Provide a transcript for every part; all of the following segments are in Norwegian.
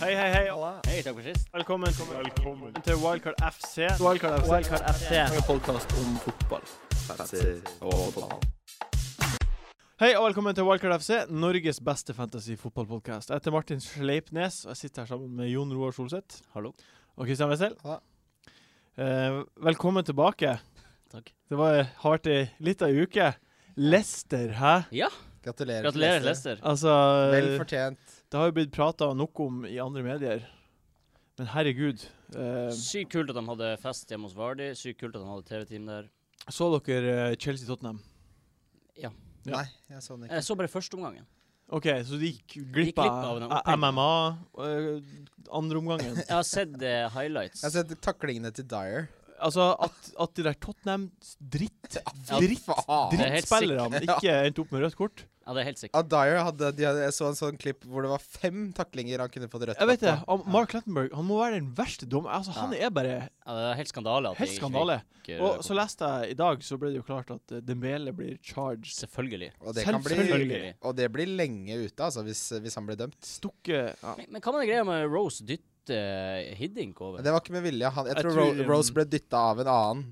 Hei, hei, hei. Hei, takk for sist. Velkommen, til Wildcard FC. Wildcard FC. Wildcard FC. En podkast om fotball. Hei og velkommen til Wildcard FC, Norges beste fantasy-fotballpodkast. Jeg heter Martin Sleipnes, og jeg sitter her sammen med Jon Roar Solseth Hallo. og Kristian Wessel. Ja. Eh, velkommen tilbake. Takk. Det var har vært ei lita uke. Lester, hæ? Gratulerer. Gratulerer, Lester. Altså Vel fortjent. Det har jo blitt prata nok om i andre medier, men herregud. eh, Sykt kult at de hadde fest hjemme hos Vardy. Sykt kult at de hadde TV-team der. så dere eh, Chelsea-Tottenham? Ja. Nei, jeg så den ikke. Jeg så bare første omgangen. OK, så de gikk Gikk glipp av glipp av den eh, MMA eh, andre omgangen. Jeg har sett eh, highlights. Jeg har sett taklingene til Dyer. Altså, at, at de der Tottenham dritt fy dritt faen. Det er helt drittspillerne ikke endte opp med rødt kort. Ja, det er helt sikkert. Ja, Dyer hadde, de hadde, Jeg så en sånn klipp hvor det var fem taklinger han kunne fått rødt Jeg vet det. kort på. han- Mark Lattenberg han må være den verste dommeren. Altså, han er bare Ja, det er helt skandale. At de helt ikke skandale. fikk, eh, Og så leste jeg i dag, så ble det jo klart at eh, Dembele blir charged. Selvfølgelig. Og det, kan bli, Selvfølgelig. Selvfølgelig. og det blir lenge ute, altså, hvis, hvis han blir dømt. Stukket ja. Men, men hva var det greia med Rose dytte eh, Hiddink over? Men det var ikke med vilje. Han, jeg, Jeg tror, tror, Ro- Rose ble dytta av en annen.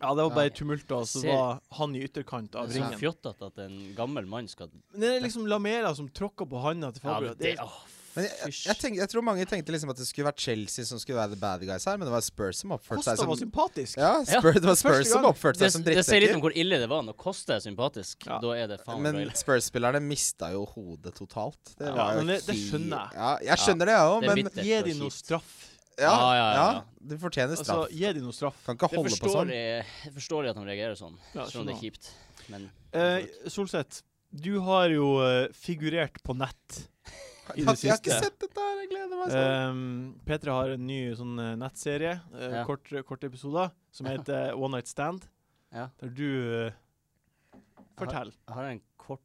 ja, det var bare Ja. tumult, og så Ser- var han i ytterkant av Det er ringen. så fjottete at en gammel mann skal Men det er liksom Lamela som tråkker på handa til Fabio. Ja, det, er- åh, Men jeg, jeg, fysj. jeg, tenk, jeg tror mange tenkte liksom at det skulle vært Chelsea som skulle være the bad guys her, men det var Spurs som oppførte Kosta seg som var sympatisk. ja, Spurs, det var Spurs som gang. oppførte det, seg som det sier litt om drittsekker. hvor ille det var. Når Kosta er sympatisk, Ja. da er det faen Men men, Spurs-spillerne mista jo hodet totalt. Det Ja, var jo men det- det helt- skjønner jeg. Ja, jeg skjønner det, jeg òg, Det er men bittert Gi og de noe kjipt. straff. ja, Ja, ja, ja, ja, ja. du fortjener straff. Altså, gi de noe straff. kan ikke Jeg holde på forstår, sånn. jeg, jeg forstår at de reagerer sånn, Ja, selv om skjønner. det er kjipt. Men Eh, Solseth, du har jo eh, figurert på nett. i Jeg, det har- jeg har ikke siste. sett dette her, jeg gleder meg sånn. Um, Petra har en ny sånn eh, nettserie, eh, Ja. kort, kort episoder, som heter eh, One Night Stand. Ja. Der du eh, Fortell. jeg har en kort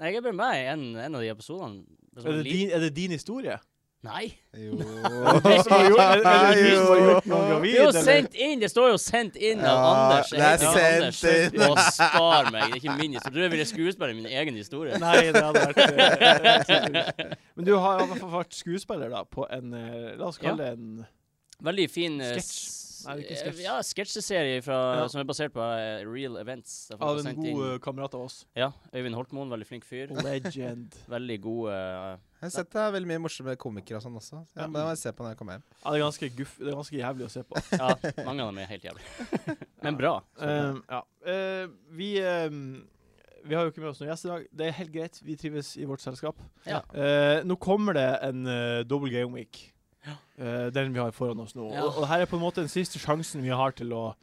Nei, jeg er bare med i en, en av de episodene. Det er sånn Er det, liten- din, er det din historie? Nei! Jo. Er det du som har gjort, er, er det du som har gjort noen Det gravid? er jo eller? sendt inn! Det står jo 'sendt inn' av Ja, Anders. det er heter sendt Anders. Å, spar meg. Det er ikke min historie. Jeg tror jeg ville skuespille min egen historie. Nei, det hadde vært eh, Men du har i hvert fall vært skuespiller da, på en eh, La oss kalle det en Veldig fin eh, Sketsj. s- eh, Nei, det er ikke sketsj. Ja, sketsjeserie fra- Ja. som er basert på eh, real events. Det er folk av har en god sendt eh, Oh. inn- kamerat av oss. Ja, Øyvind Holtmoen, veldig flink fyr. Legend. Veldig god eh, Jeg har sett det er veldig mye morsomme komikere og sånn også. Ja. Ja, men det må jeg se på når jeg kommer hjem. Ja, det er ganske guff, det er ganske jævlig å se på. Ja, mange av dem er helt jævlig. Men bra. Eh, ja. Eh, vi, eh, vi har jo ikke med oss noen gjest i dag. Det er helt greit, vi trives i vårt selskap. Ja. Eh, nå kommer det en uh, double game week. Ja. Eh, den vi har foran oss nå. Ja. Og, og her er på en måte den siste sjansen vi har til å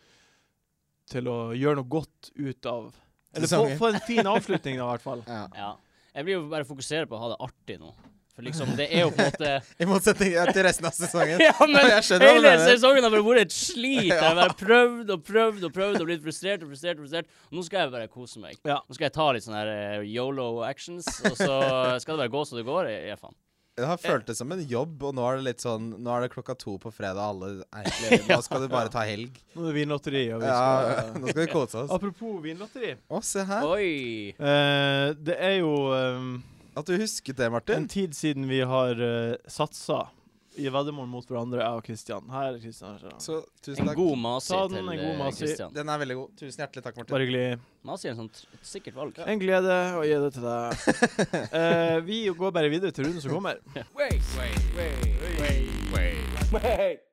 Til å gjøre noe godt ut av Eller få, Sesongen. få en fin avslutning, da, i hvert fall. Ja. Ja. Jeg vil jo bare fokusere på å ha det artig nå. For liksom, det er jo på en måte I motsetning ja, til resten av sesongen. Ja, men Jeg skjønner hva du hele mener. sesongen har bare vært et slit. Jeg har bare prøvd og prøvd og prøvd og blitt frustrert og frustrert. og frustrert. Nå skal jeg bare kose meg. Ja. Nå skal jeg ta litt sånne her eh, YOLO actions, og så skal det bare gå så det går. Jeg, jeg faen. Det har føltes som en jobb, og nå er det litt sånn Nå er det klokka to på fredag, alle er egentlig Nå skal du bare ta helg. Nå er det vinlotteri. Og vi Ja, skal, nå skal vi kose oss. apropos vinlotteri. Å, se her. Oi! Eh, det er jo eh, At du husket det, en Martin. tid siden vi har uh, satsa i veddemål mot hverandre, jeg og Kristian. Her er Kristian. Så tusen En takk. god masi Ta den, til en god eh, masi. Christian. Den er veldig god. Tusen hjertelig takk, Martin. Bare hyggelig. Masi er en sånn tr- et sikkert valg. En glede å gi det til deg. Eh, vi går bare videre til runden som kommer. Wait, wait, wait, wait, wait.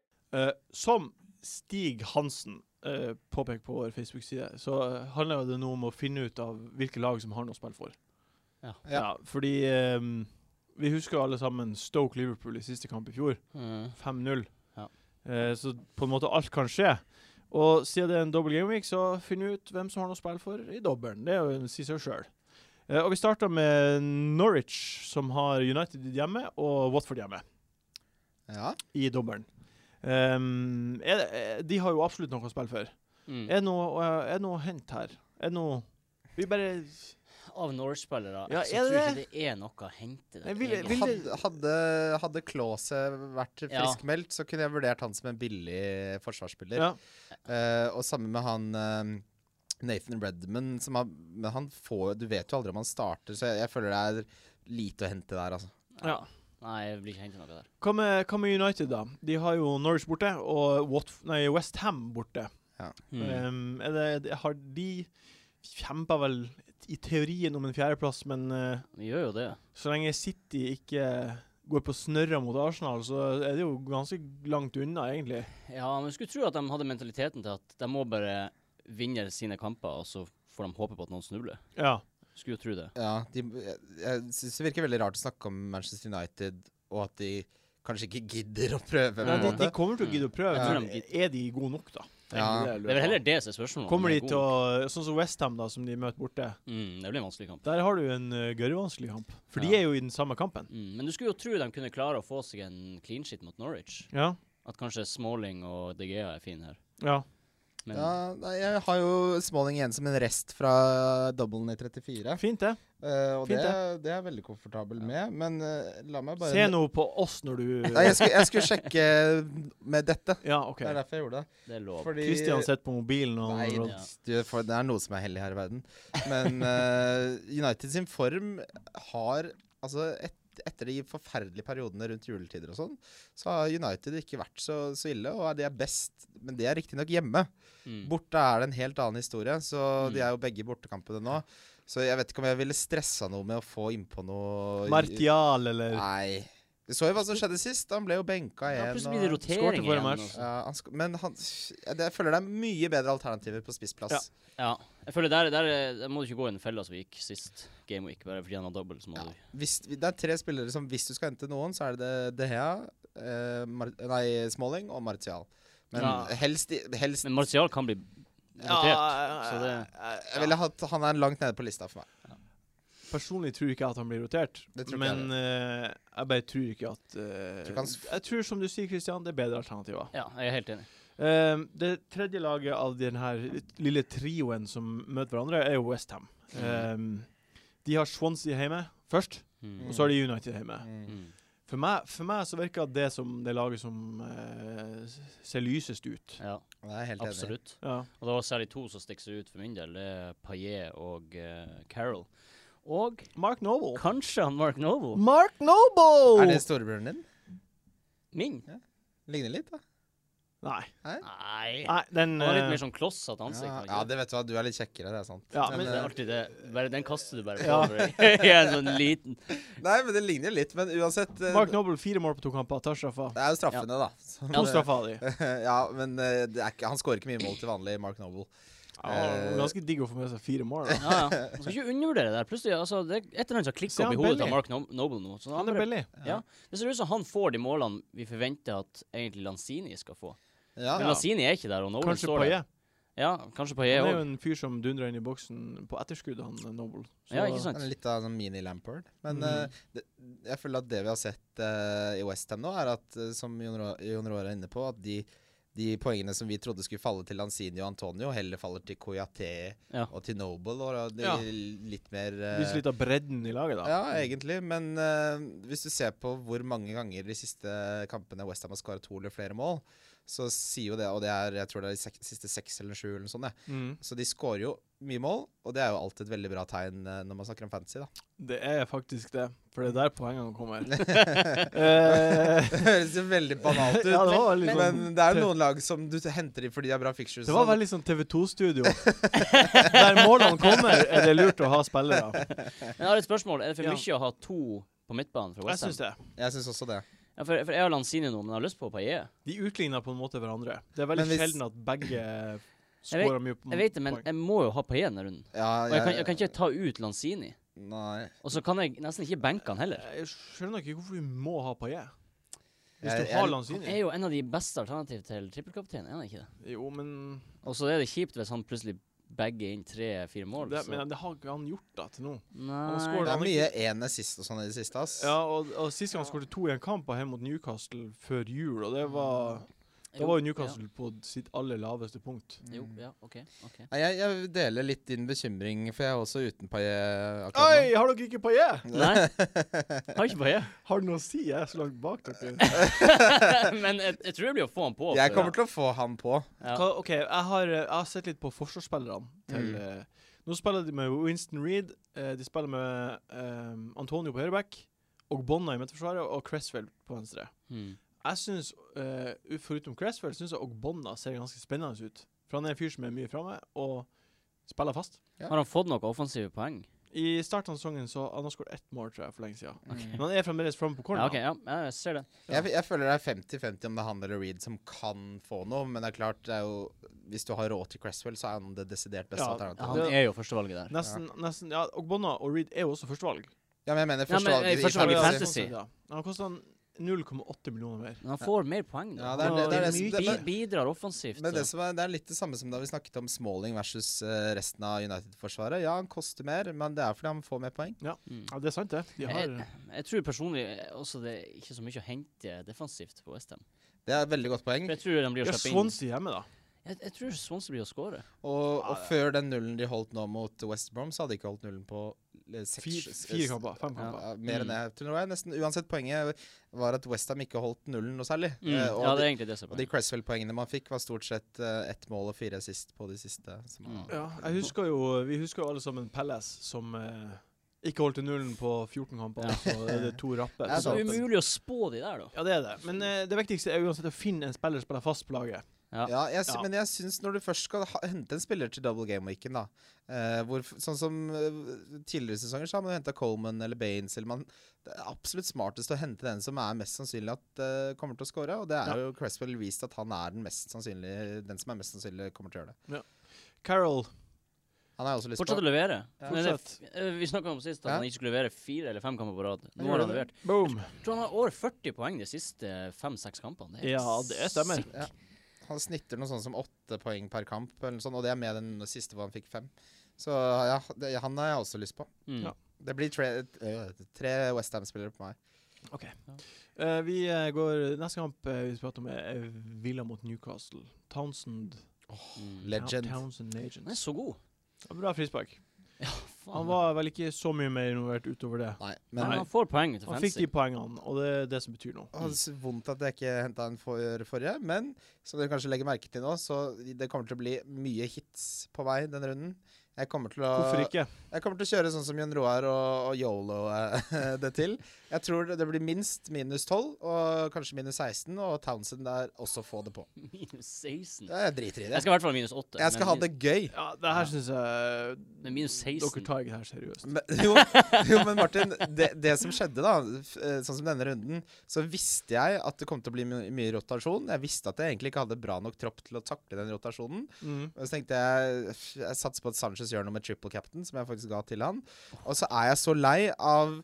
Eh, som Stig Hansen eh, påpeker på vår Facebook-side, så eh, handler jo det nå om å finne ut av hvilke lag som har noe å spille for. Ja. Ja. fordi eh, vi husker jo alle sammen Stoke Liverpool i siste kamp i fjor. Mm. 5-0. Ja. Eh, så på en måte alt kan skje. Og siden det er en dobbel game week, så finn ut hvem som har noe å spille for i dobbelen. Det er jo en si seg sjøl. Eh, og vi starter med Norwich, som har United hjemme og Watford hjemme Ja. i dobbelen. Ehm, er det, eh, de har jo absolutt noe å spille for. Mm. Er det noe, eh, er det noe å hente her? Er det noe Vi bare Av Norse-spillere Ja, så er tror jeg det? ikke det er noe å hente der. Nei, vil- egentlig. vil- Hadde, hadde, hadde Klause vært Ja. friskmeldt, så kunne jeg vurdert han som en billig forsvarsspiller. Ja. Eh, og sammen med han eh, Nathan Redman, som har Men han får Du vet jo aldri om han starter, så jeg, jeg føler det er lite å hente der, altså. ja. Nei, jeg blir ikke hentet noe der. Hva med, hva med United, da? De har jo Norwich borte og Watf nei, West Ham borte. Mm. Um, er det, det- har de kjempa vel i teorien om en fjerdeplass, men eh, De gjør jo det. så lenge City ikke går på snørra mot Arsenal, så er det jo ganske langt unna, egentlig. Ja, men jeg skulle tro at de hadde mentaliteten til at de må bare vinne sine kamper, og så får de håpe på at noen snubler. Ja. Skulle jo tro det. Ja, de, jeg, jeg synes det virker veldig rart å snakke om Manchester United, og at de kanskje ikke gidder å prøve. på Nei, en de, de måte. kommer til å gidde å prøve. Ja. men Er de gode nok, da? Mm. Ja. Egentlig jeg Det lurer er vel på. heller det som er spørsmålet. om Kommer de de er til gode. å Sånn som Westham, da, som de møter borte. mm, Det blir en vanskelig kamp. Der har du en uh, gørrvanskelig kamp. For de Ja. er jo i den samme kampen. Mm, men du skulle jo tro de kunne klare å få seg en clean shit mot Norwich. Ja. At kanskje Smalling og De Gea er fine her. ja. Men Ja, nei, jeg har jo Smalling igjen som en rest fra doublen i 34. Fint, det. eh, og Fint, det, det er jeg veldig komfortabel med, men eh, la meg bare Se nå på oss når du Nei, jeg, skulle, jeg skulle sjekke med dette. Ja, OK. Det er derfor jeg gjorde det. det er lov. Fordi Kristian sitter på mobilen og Nei, og- ja. du, for, det er noe som er hellig her i verden. Men eh, United sin form har Altså, et, etter de forferdelige periodene rundt juletider og sånn, så har United ikke vært så, så ille, og de er best, men det er riktignok hjemme. Mm. Borte er det en helt annen historie, så de Mm. er jo begge i bortekampene nå. Så jeg vet ikke om jeg ville stressa noe med å få innpå noe Martial, eller Nei. Du så jo hva som skjedde sist. Han ble jo benka Ja, igjen. plutselig blir det og- Skårte rotering for en igjen. match. altså. ja, han sk men han Jeg føler det er mye bedre alternativer på spissplass. Ja. Ja. Jeg føler der, der, der må du ikke gå i den fella som vi gikk sist game week, bare fordi han har dobbelt. Så må Ja. du Hvis, det er tre spillere som hvis du skal hente noen, så er det De Gea, eh, Mar nei, Smalling og Martial. Men Ja. helst, i- helst Men Martial kan bli rotert. så det jeg ville hatt, Han er langt nede på lista for meg. Personlig tror ikke jeg at han blir rotert, Det tror ikke jeg men eh, jeg bare tror ikke at eh, Tror ikke han s- Jeg tror, som du sier, Kristian, det er bedre alternativer. Ja, jeg er helt enig. Eh, det tredje laget av denne lille trioen som møter hverandre, er jo Westham. Mm. de har Swansea hjemme først, Mm. og så har de United hjemme. Mm. Mm. For meg, for meg så virker det som det laget som eh, s- ser lysest ut. Ja, Jeg er helt enig. absolutt. Ja. Og det var særlig to som stikker seg ut for min del. Det er Paillet og eh, Carroll. Og Mark Noble. kanskje han Mark Novo. Mark Noble! Oh. Er det storebroren din? Min? Ligner litt, da. Nei. Nei. Nei, den Han har litt eh, mer sånn klossete ansikt. Ja, har ja, han ikke det vet du hva, du er litt kjekkere, det er sant. Ja, Men men- eh, det er alltid det. Bare den kaster du bare på. Ja. over. Jeg er sånn liten. Nei, men det ligner jo litt, men uansett eh, Mark Noble fire mål på to kamper, tar straffa. Det er jo straffene, da. Som, To straffer av de. ja, men eh, det er ikke, han skårer ikke mye mål til vanlig, Mark Noble. Ja, Ganske digg å få med seg fire mål. Da. Ja, ja. Man skal ikke undervurdere det. her. Plutselig, altså, det er et eller annet som Se klikker han opp i hodet Belly. til Mark no Noble nå. Så Han er bare, billig. ja. Det ser ut som han får de målene vi forventer at egentlig Lanzini skal få. Ja, Men Lanzini er ikke der, og Noble Kanskje står der. Paillet. Ja, kanskje Paillet Han er jo òg. en fyr som dundrer inn i boksen på etterskudd, han eh, Noble. Så- Ja, ikke sant? Han er litt av en sånn mini-Lampard. Men Mhm. eh, det, jeg føler at det vi har sett eh, i Westham nå, er at, eh, som Jon Rå- Jon Roar er inne på, at de, de poengene som vi trodde skulle falle til Lanzini og Antonio, heller faller til Coyote Ja. og til Noble. Og, og de, Ja. litt mer eh, Viser litt av bredden i laget, da. ja, egentlig, men eh, hvis du ser på hvor mange ganger de siste kampene Westham har skåra to eller flere mål, så sier jo det, og det er jeg tror det er de sek siste seks eller sju eller noe sånt, ja. Mm. så de skårer jo mye mål, og det er jo alltid et veldig bra tegn eh, når man snakker om fantasy, da. Det er faktisk det. For det er der poengene kommer. eh, Det høres jo veldig banalt ut. ja, det var veldig sånn men det er jo noen lag som du henter inn fordi de har bra fixtures. Det var veldig sånn TV2-studio. Der målene kommer, er det lurt å ha spillere. Men Jeg har et spørsmål. Er det for Ja. mye å ha to på midtbanen fra Jeg Westham? syns det. Jeg syns også det. Ja, for, for jeg har Lanzini nå, men jeg har lyst på Paillet. De utligner på en måte hverandre. Det er Men veldig hvis- sjelden at begge vet- scorer mye på Jeg vet det, men Mm, poeng. jeg må jo ha Paillet denne runden. Ja, Og jeg kan, jeg kan ikke ta ut Lanzini. Nei. Og så kan jeg nesten ikke benke han heller. Jeg skjønner ikke hvorfor du må ha Paillet. Hvis Jeg- du jeg- har Han Lanzini er jo en av de beste alternativ til trippelkaptein, er han ikke det? Jo, men Og så er det kjipt hvis han plutselig bagger inn tre-fire mål. det, så- men det har ikke han gjort da til nå. Nei. scorer Det da. er mye én assist og sånn i det siste, ass. Ja, og, og Sist gang han skåret to i en kamp, var hjemme mot Newcastle før jul. Og det var Mm. Da var jo Newcastle på sitt aller laveste punkt. Ja. Jo, ja, OK. ok. Nei, jeg, jeg deler litt din bekymring, for jeg er også uten paillet akkurat nå. Oi, har dere ikke Paillet? Nei, har ikke Paillet. Har det noe å si? Jeg er så langt bak dere. men jeg, jeg tror jeg blir å få han på. Jeg for- kommer til å få han på. ja. Hva, OK, jeg har, eh, jeg har sett litt på forsvarsspillerne til Mm. eh, Nå spiller de med Winston Reed. eh, de spiller med eh, Antonio på høyreback og Ogbonna i midtforsvaret og Cresswell på venstre. Hmm. Jeg syns, eh, ut- foruten Cresswell, syns jeg Ogbonna ser ganske spennende ut. For han er en fyr som er mye framme, og spiller fast. Har han fått noen offensive poeng? I starten av sesongen så han har skåret ett mål, tror jeg, for lenge siden. Men han er fremdeles framme på Ja, corner. ok, ja, ja, jeg ser det. Jeg, jeg føler det er 50-50 om det er han eller Reed som kan få noe, men det er klart, det er jo, hvis du har råd til Cresswell, så er han det desidert beste Ja, alternativet. Han Det- er jo førstevalget der. Nesten, nesten, ja, Ogbonna og Reed er jo også førstevalg. Ja, men jeg mener Ja, men, førstevalget eh, førstevalget i Ja, fantasy. fantasy. Ja. Han koster han 0,8 millioner mer. Men han får mer poeng, da. Ja, det er det- det er det Han som- det- bi- bidrar offensivt. Men det, da. som er, det er litt det samme som da vi snakket om Smalling versus eh, resten av United-forsvaret. Ja, han koster mer, men det er fordi han får mer poeng. Mm. Ja, det er sant, det. De har Jeg, jeg tror personlig eh, også det er ikke så mye å hente defensivt på Westham. Det er et veldig godt poeng. Jeg tror de blir ja, å slippe inn. Swansea hjemme, da. Jeg, jeg tror Swansea blir å skåre. Og, Ja, og det- før den nullen de holdt nå mot West Brom, så hadde de ikke holdt nullen på eh, seks Fire, s- fire s- kamper. Fem Ja, kamper. ja, mer enn det. Tror jeg. Nesten uansett, poenget var at Westham ikke holdt nullen noe særlig. Mm. Eh, og, Ja, det de, er egentlig det som og er de Cresswell-poengene man fikk, var stort sett eh, ett mål og fire sist på de siste. Som Mm. Ja, jeg husker jo, Vi husker jo alle sammen Pelles, som eh, ikke holdt til nullen på 14 kamper. Ja. Så er det to rappe. Ja, Så Så, sant. umulig å spå de der, da. ja, det er det. Men eh, det viktigste er uansett å finne en spiller som spiller fast på laget. Ja, jeg, sy- Ja. Men jeg syns når du først skal ha, hente en spiller til double game-weeken, da eh, hvor, f- Sånn som eh, tidligere sesonger så har man henta Coleman eller Baines eller man, Det er absolutt smartest å hente den som er mest sannsynlig at eh, kommer til å score. Og det er Ja. jo Cresswell vist at han er den, mest sannsynlige, den som er mest sannsynlig kommer til å gjøre det. Carol Han er også litt Fortsett å levere. Ja. Men det- eh, vi snakka om sist at Ja. han ikke skulle levere fire eller fem kamper på rad. gjør Nå har han det. levert. Boom. Jeg tror han har over 40 poeng de siste fem-seks kampene. Det er Ja, helt det stemmer. sykt. Ja. Han snitter noe sånt som åtte poeng per kamp, eller noe sånt, og det er med den siste hvor han fikk fem. Så ja, det, han har jeg også lyst på. Mm. Ja. Det blir tre, eh, tre Westham-spillere på meg. OK. Eh, vi eh, går Neste kamp eh, vi prater om, er eh, Villa mot Newcastle. Townsend Mm. Le- Legend. Tow- Townsend Legend. Han er så god. Bra frispark. Ja, Han faen. Han, var vel ikke så mye mer involvert utover det. Nei, men men han får poeng til Han fikk de fancy. poengene, og det er det som betyr noe. Jeg hadde så vondt at jeg ikke henta en for, forrige, men som dere kanskje legger merke til nå, så det kommer til å bli mye hits på vei denne runden. Jeg kommer til å, Hvorfor ikke? jeg kommer til å kjøre sånn som Jon Roar og, og Yolo eh, det til. Jeg tror det, det blir minst minus 12, og kanskje minus 16, og Townsend der også få det på. Minus 16. Jeg driter i Jeg det. skal i hvert fall ha minus 8. Jeg skal ha det gøy. Ja, det her syns jeg Men minus 16 Dere tar ikke det her seriøst. Men, jo, jo, men Martin, det, det som skjedde da, f- eh, sånn som denne runden, så visste jeg at det kom til å bli my mye rotasjon. Jeg visste at jeg egentlig ikke hadde bra nok tropp til å takle den rotasjonen. Mm. Og så tenkte jeg f- jeg satser på at Sanchez gjør noe med triple captain, som jeg faktisk ga til han. Og så er jeg så lei av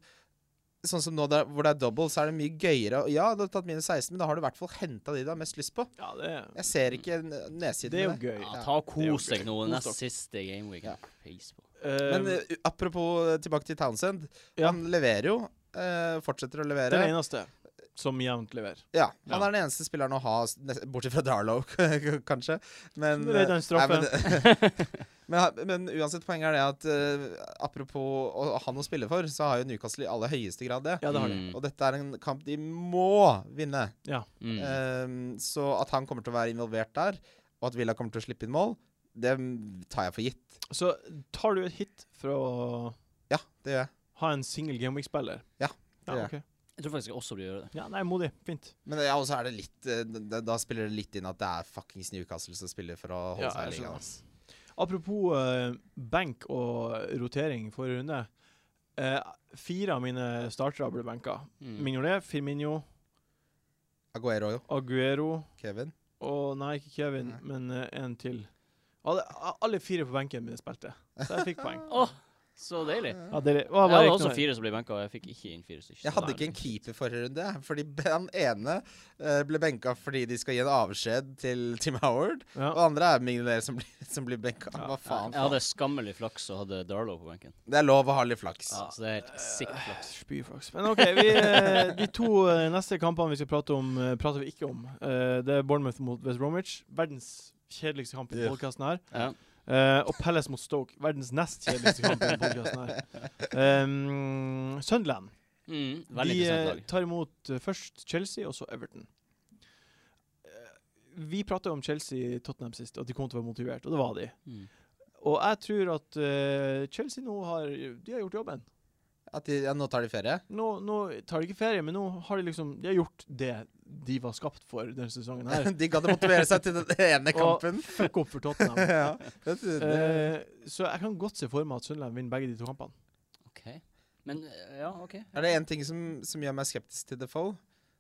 Sånn som nå der, hvor det er double, så er det mye gøyere. Og Ja, du har tatt minus 16, men da har du i hvert fall henta de du har mest lyst på. Ja, det, Jeg ser ikke n- nedsiden det er jo med gøy. Ja, ta og Det er jo kos deg gøy. nå Kos nest dere. siste gameweek. Ja. Peis på. Um, Men eh, apropos eh, tilbake til Townsend. Ja. Han leverer jo. eh, fortsetter å levere. den eneste som jevnt leverer. Ja, han Ja. er den eneste spilleren å ha, s- nes- bortsett fra Darlow, kanskje. Men, Så det er den eh, straffen. nei, men, men, men uansett, poenget er det at eh, apropos å, han å spille for, så har jo Newcastle i aller høyeste grad det. Ja, det har de. Mm. Og dette er en kamp de må vinne. Mm. Eh, så at han kommer til å være involvert der, og at Villa kommer til å slippe inn mål, det tar jeg for gitt. Så tar du et hit for å Ja, det gjør jeg. ha en single gameweek-spiller? Ja, Ja, gjør ok. Jeg tror faktisk jeg også blir å gjøre det. ja, nei, modig. Fint. Men ja, og så er det litt eh, da, da spiller det litt inn at det er fuckings Newcastle som spiller for å holde Ja, seg i jeg skjønner. ligaen. ass. Apropos eh, benk og rotering i forrige runde. Eh, fire av mine startere ble benka. Mm. Mignolet, Firmino, Aguero, jo. Aguero Kevin. og Nei, ikke Kevin, Nei. men eh, en til. Alle, a- alle fire på benken min spilte, så jeg fikk poeng. Åh, så deilig. Ja, det, det var bare Jeg hadde ikke også noe- fire som ble benka, og jeg fikk ikke inn fire stykker. Jeg hadde ikke en keeper forrige runde, jeg, fordi b- han ene eh, ble benka fordi de skal gi en avskjed til Tim Howard, Ja. og andre er millionærer som, blir- som blir benka. Hva faen? Jeg hadde skammelig flaks og hadde Darlow på benken. Det er lov å ha litt flaks. Ja, så det er helt sikt Eh, flaks. Spyflaks. Men OK, vi, eh, de to eh, neste kampene vi skal prate om, eh, prater vi ikke om. Eh, Det er Bournemouth mot West Bromwich. Verdens kjedeligste kamp i Ja. podkasten her. Ja. Eh, og Palace mot Stoke. Verdens nest kjedeligste kamp i podkasten her. Um, Sunderland. Mm, veldig De eh, interessant lag. tar imot eh, først Chelsea og så Everton. Eh, Vi prata om Chelsea i Tottenham sist, at de kom til å være motivert, og det var de. Mm. Og jeg tror at eh, Chelsea nå har De har gjort jobben. At de, ja, nå tar de ferie? Nå, nå tar de ikke ferie, men nå har de liksom De har gjort det de var skapt for denne sesongen her. de gadd å motivere seg til den ene kampen. Og fuck opp for Tottenham. ja, det, det, Eh, så jeg kan godt se for meg at Sunnland vinner begge de to kampene. OK. Men eh, ja, OK. er det én ting som, som gjør meg skeptisk til Defoe,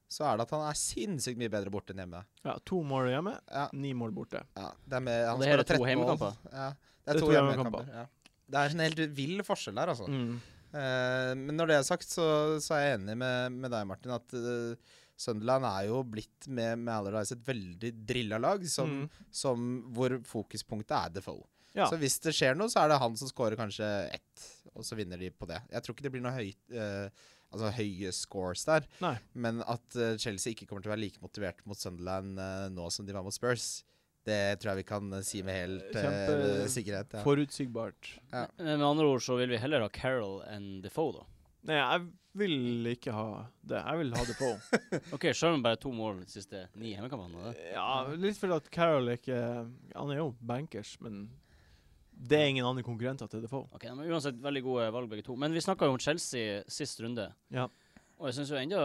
så er det at han er sinnssykt mye bedre borte enn hjemme. Ja, To mål hjemme, Ja, ni mål borte. ja, det er med, han det her er skårer 13 to mål. hjemmekamper. Ja, det er to hjemmekamper. Ja. Det er en helt vill forskjell der, altså. Mm. Eh, men når det er sagt, så, så er jeg enig med, med deg, Martin, at eh, Sunderland er jo blitt med, med Allardyce et veldig drilla lag, som, Mm. som, hvor fokuspunktet er Defoe. Ja. Så hvis det skjer noe, så er det han som scorer kanskje ett, og så vinner de på det. Jeg tror ikke det blir noe høy, eh, altså høye scores der, Nei. men at eh, Chelsea ikke kommer til å være like motivert mot Sunderland eh, nå som de var mot Spurs, det tror jeg vi kan eh, si med helt eh, Kjempe- sikkerhet. Ja. Forutsigbart. Ja. Men eh, med andre ord så vil vi heller ha Carol enn Defoe, da. Nei, jeg vil ikke ha det. Jeg vil ha det på. OK, sjøl om bare to mål de siste ni hjemmekampene. det. Ja, litt fordi at Carol ikke Han er jo bankers, men det er ingen andre konkurrenter til Defoe. Ok, de er uansett veldig gode valg begge to. Men vi snakka jo om Chelsea sist runde. Ja. Og jeg syns jo ennå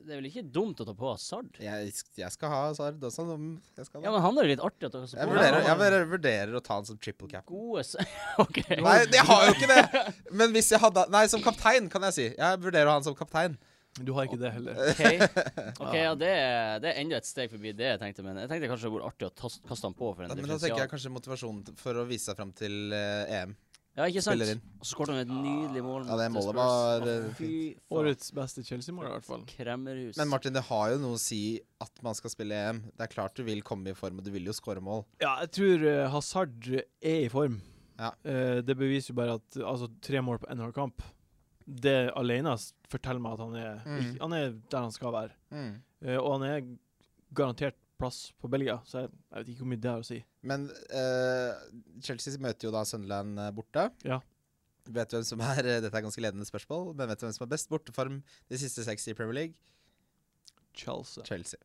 Det er vel ikke dumt å ta på Hazard? Jeg, jeg skal ha Sard også. om- Jeg skal ha Ja, men han er jo litt artig at dere så Jeg på. vurderer, jeg Han har vurderer- vurderer å ta han som triple cap. Gode se... OK. Nei, jeg har jo ikke det! Men hvis jeg hadde Nei, som kaptein, kan jeg si. Jeg vurderer å ha han som kaptein. Du har ikke det heller. Eh, OK, Ok, ja, det er, det er enda et steg forbi det jeg tenkte, men jeg tenkte kanskje det burde vært artig å tas- kaste han på for en Da, men da tenker jeg differensial. kanskje motivasjonen for å vise seg fram til eh, EM. Ja, ikke sant? spiller inn. Og så skåret han et nydelig mål. Ja, det mot målet Spurs. var, Å, eh, Fy faen. Årets beste Chelsea-mål, i hvert fall. Kremmerhus. Men Martin, det har jo noe å si at man skal spille EM. Det er klart du vil komme i form, og du vil jo skåre mål. Ja, jeg tror eh, Hazard er i form. Ja. Eh, det beviser jo bare at altså, tre mål på én kamp Det alene s- forteller meg at han er, Mm. ikk- han er der han skal være. Mm. Eh, og han er garantert plass på Belgia, så jeg, jeg vet ikke hvor mye det har å si. Men eh, Chelsea møter jo da Sunderland eh, borte. Ja. Vet du hvem som er Dette er ganske ledende spørsmål, men vet du hvem som er best borteform de siste seks i Premier League? Chelsea. Chelsea.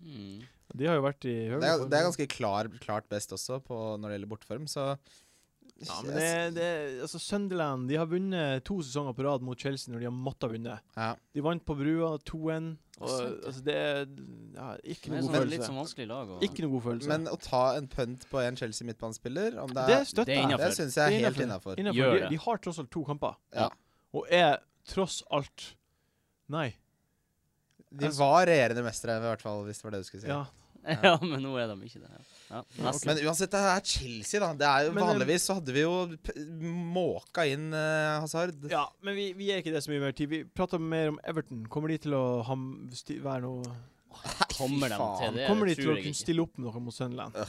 Mm. De har jo vært i Det er, det er ganske klar, klart best også på, når det gjelder borteform, så Ja, men det, det, altså Sunderland de har vunnet to sesonger på rad mot Chelsea når de har måttet vinne. ja. De vant på Brua 2-1. og, Sant, ja. Altså, det er ja, ikke Det noe god er sånn, litt følelse. sånn vanskelig lag. Og... Ikke noe god følelse. Men å ta en punt på en Chelsea midtbanespiller om det det er, støtter Det er jeg. innenfor. Det syns jeg er helt Innenfor. innafor. Innenfor. Gjør De, det. de har tross alt to kamper. Ja. Og er tross alt Nei. De var regjerende mestere, i hvert fall, hvis det var det du skulle si. Ja. ja, men nå er de ikke det. Ja. Ja, nesten. Men uansett, det er Chelsea, da. Det er jo Men, eh, Vanligvis så hadde vi jo p måka inn eh, Hazard. ja men vi, vi er ikke det så mye mer tid. Vi prater mer om Everton. Kommer de til å ham, sti, være noe Kommer de faen. til det? Kommer de det til å tror jeg kunne ikke. stille opp med noe mot Sunderland?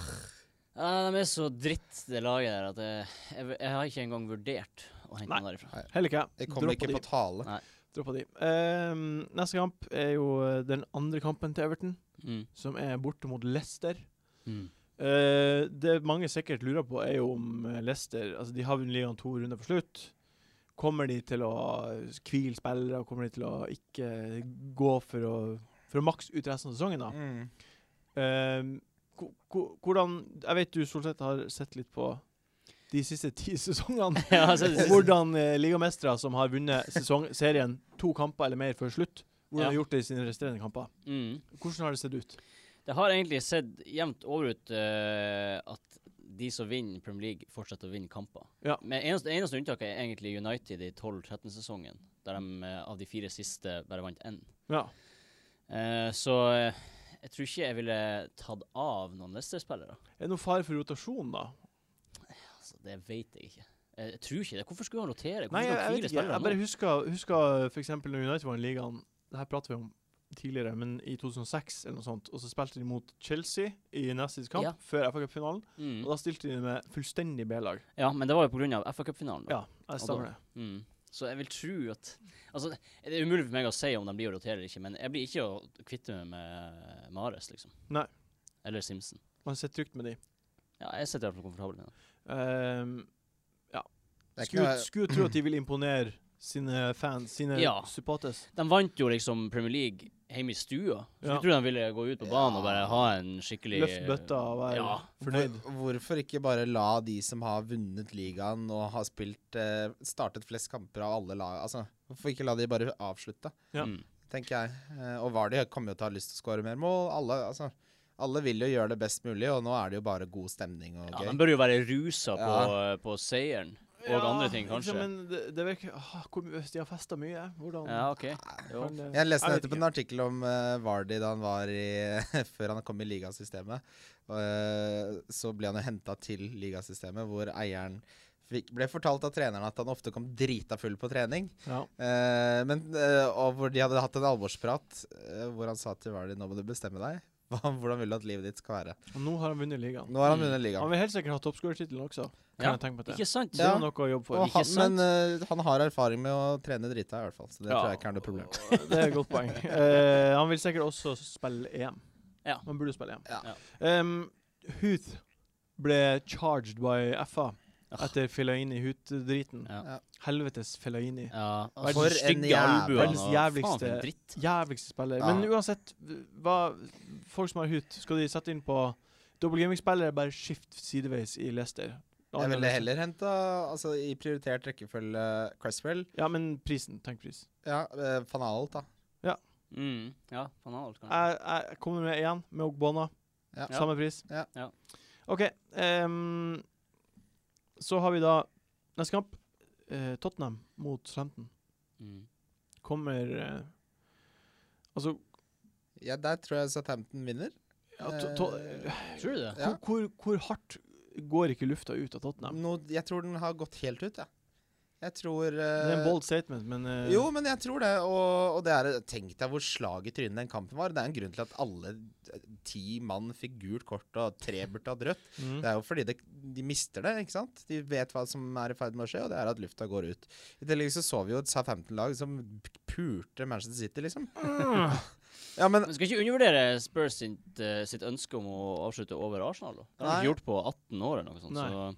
Ja, de er så dritt, det laget der, at jeg, jeg, jeg har ikke engang vurdert å hente Nei. noen derifra. Heller ikke. Det kommer Droppa ikke de. på tale. Droppa de. Ehm, neste kamp er jo eh, den andre kampen til Everton, Mm. som er borte mot Leicester. Mm. Eh, det mange sikkert lurer på, er jo om eh, Leicester altså De har vunnet ligaen to runder på slutt. Kommer de til å eh, hvile spillere? Kommer de til å ikke gå for å, for å makse ut resten av sesongen? da? Mm. Ehm, ko- ko- hvordan Jeg vet du, Solseth, har sett litt på de siste ti sesongene. Ja, altså, Og det siste- hvordan eh, ligamestere som har vunnet sesong serien to kamper eller mer før slutt, hvordan Ja. har gjort det i sine resterende kamper. mm. Hvordan har det sett ut? Det har egentlig sett jevnt over ut eh, at de som vinner Premier League, fortsetter å vinne kamper. Ja. Men eneste, eneste unntaket er egentlig United i 12-13-sesongen, der de eh, av de fire siste bare vant én. Ja. Eh, så eh, jeg tror ikke jeg ville tatt av noen Leicester-spillere. Er det noen fare for rotasjon, da? Altså, det vet jeg ikke. Jeg, jeg tror ikke det. Hvorfor skulle han rotere? Hvorfor Nei, jeg, skal han jeg vet fire ikke. spillere Jeg nå? bare husker, husker f.eks. når United var i ligaen Det her prater vi om tidligere, men i 2006 eller noe sånt. Og så spilte de mot Chelsea i neste kamp, Ja. før FA Cup-finalen. Mm. Og da stilte de med fullstendig B-lag. Ja, men det var jo pga. FA Cup-finalen. da. Ja, jeg stemmer det. Mm. Så jeg vil tro at Altså, det er umulig for meg å si om de blir å rotere eller ikke, men jeg blir ikke å kvitte meg med Mares, liksom. Nei. Eller Simpson. Man sitter trygt med de. Ja, jeg sitter i hvert fall komfortabel med det. Ehm, Det er ikke skulle noe- skulle tro at de vil imponere sine fans, sine Ja. supporters. De vant jo liksom Premier League hjemme i stua. Så Ja. jeg tror de ville gå ut på banen og bare ha en skikkelig Løft bøtta og vær Ja. fornøyd. Hvor- Hvorfor ikke bare la de som har vunnet ligaen og har spilt eh, startet flest kamper av alle lag altså, Hvorfor ikke la de bare avslutte, Ja. Mm. tenker jeg. Eh, og Vardy kommer jo til å ha lyst til å skåre mer mål. Alle, altså, alle vil jo gjøre det best mulig, og nå er det jo bare god stemning og ja, gøy. De bør jo være rusa på, Ja. på seieren og andre ting, kanskje. liksom, Men det, det virker ah, hvor, mye- De har festa mye. Hvordan Ja, OK. Jo. kan det Jeg leste vet nettopp ikke. en artikkel om eh, Vardy da han var i før han kom i ligasystemet. Eh, så ble han jo henta til ligasystemet, hvor eieren fikk, ble fortalt av treneren at han ofte kom drita full på trening. Ja. Eh, men, eh, og hvor de hadde hatt en alvorsprat eh, hvor han sa til Vardy nå må du bestemme deg. Hva, hvordan vil du at livet ditt skal være? Og nå har han vunnet ligaen. Nå har han Mm. vunnet Han ligaen. vil helt sikkert ha toppskårertittelen også, kan Ja, jeg tenke meg til. Ikke sant? Det er Ja. jo noe å jobbe Og for. ikke han, sant? men eh, han har erfaring med å trene drita, i hvert fall. Så det Ja. tror jeg ikke er noe problem. Det er et godt poeng. Eh, han vil sikkert også spille EM. Ja. Han burde spille EM. Ja. Em, Huth ble charged by FA Ah. etter Fellaini-Huth-driten. Ja. Ja. Helvetes Fellaini. Ja, Verdens for stygge stygge albuene, albuer. verdens og jævligste- Faen, for en dritt. Jævligste spiller. Ja. Men uansett, hva, folk som har Huth, skal de sette inn på dobbeltgaming-spillere, bare skift sideveis i Leicester. Jeg ville heller liksom. henta, altså i prioritert rekkefølge, Cresswell. Ja, men prisen. Tenk pris. Ja, eh, van Aalt, da. Mm, ja, faen alt, kanskje. Jeg, jeg kommer med igjen, med Ogbonna. Ja. Ja. Samme pris. Ja. Ja. OK. ehm, så har vi da neste kamp. eh, Tottenham mot 15. Mm. Kommer eh, Altså Ja, der tror jeg Southampton vinner. ja, to, to, Tror du det? Eh, Ja. Hvor, hvor hardt går ikke lufta ut av Tottenham? Nå, jeg tror den har gått helt ut, jeg. Jeg tror Det er eh, en bold statement, men eh, Jo, men jeg tror det. Og, og det er, tenk deg hvor slag i trynet den kampen var. Det er en grunn til at alle eh, ti mann fikk gult kort og tre burde hatt rødt. mm. Det er jo fordi det, de mister det, ikke sant. De vet hva som er i ferd med å skje, og det er at lufta går ut. I tillegg så så vi jo et Southampton-lag som pulte Manchester City, liksom. Ah. Ja, men Men skal ikke undervurdere Spurs sitt, eh, sitt ønske om å avslutte over Arsenal. da. Det har de Nei. ikke gjort på 18 år eller noe sånt. Nei. Så.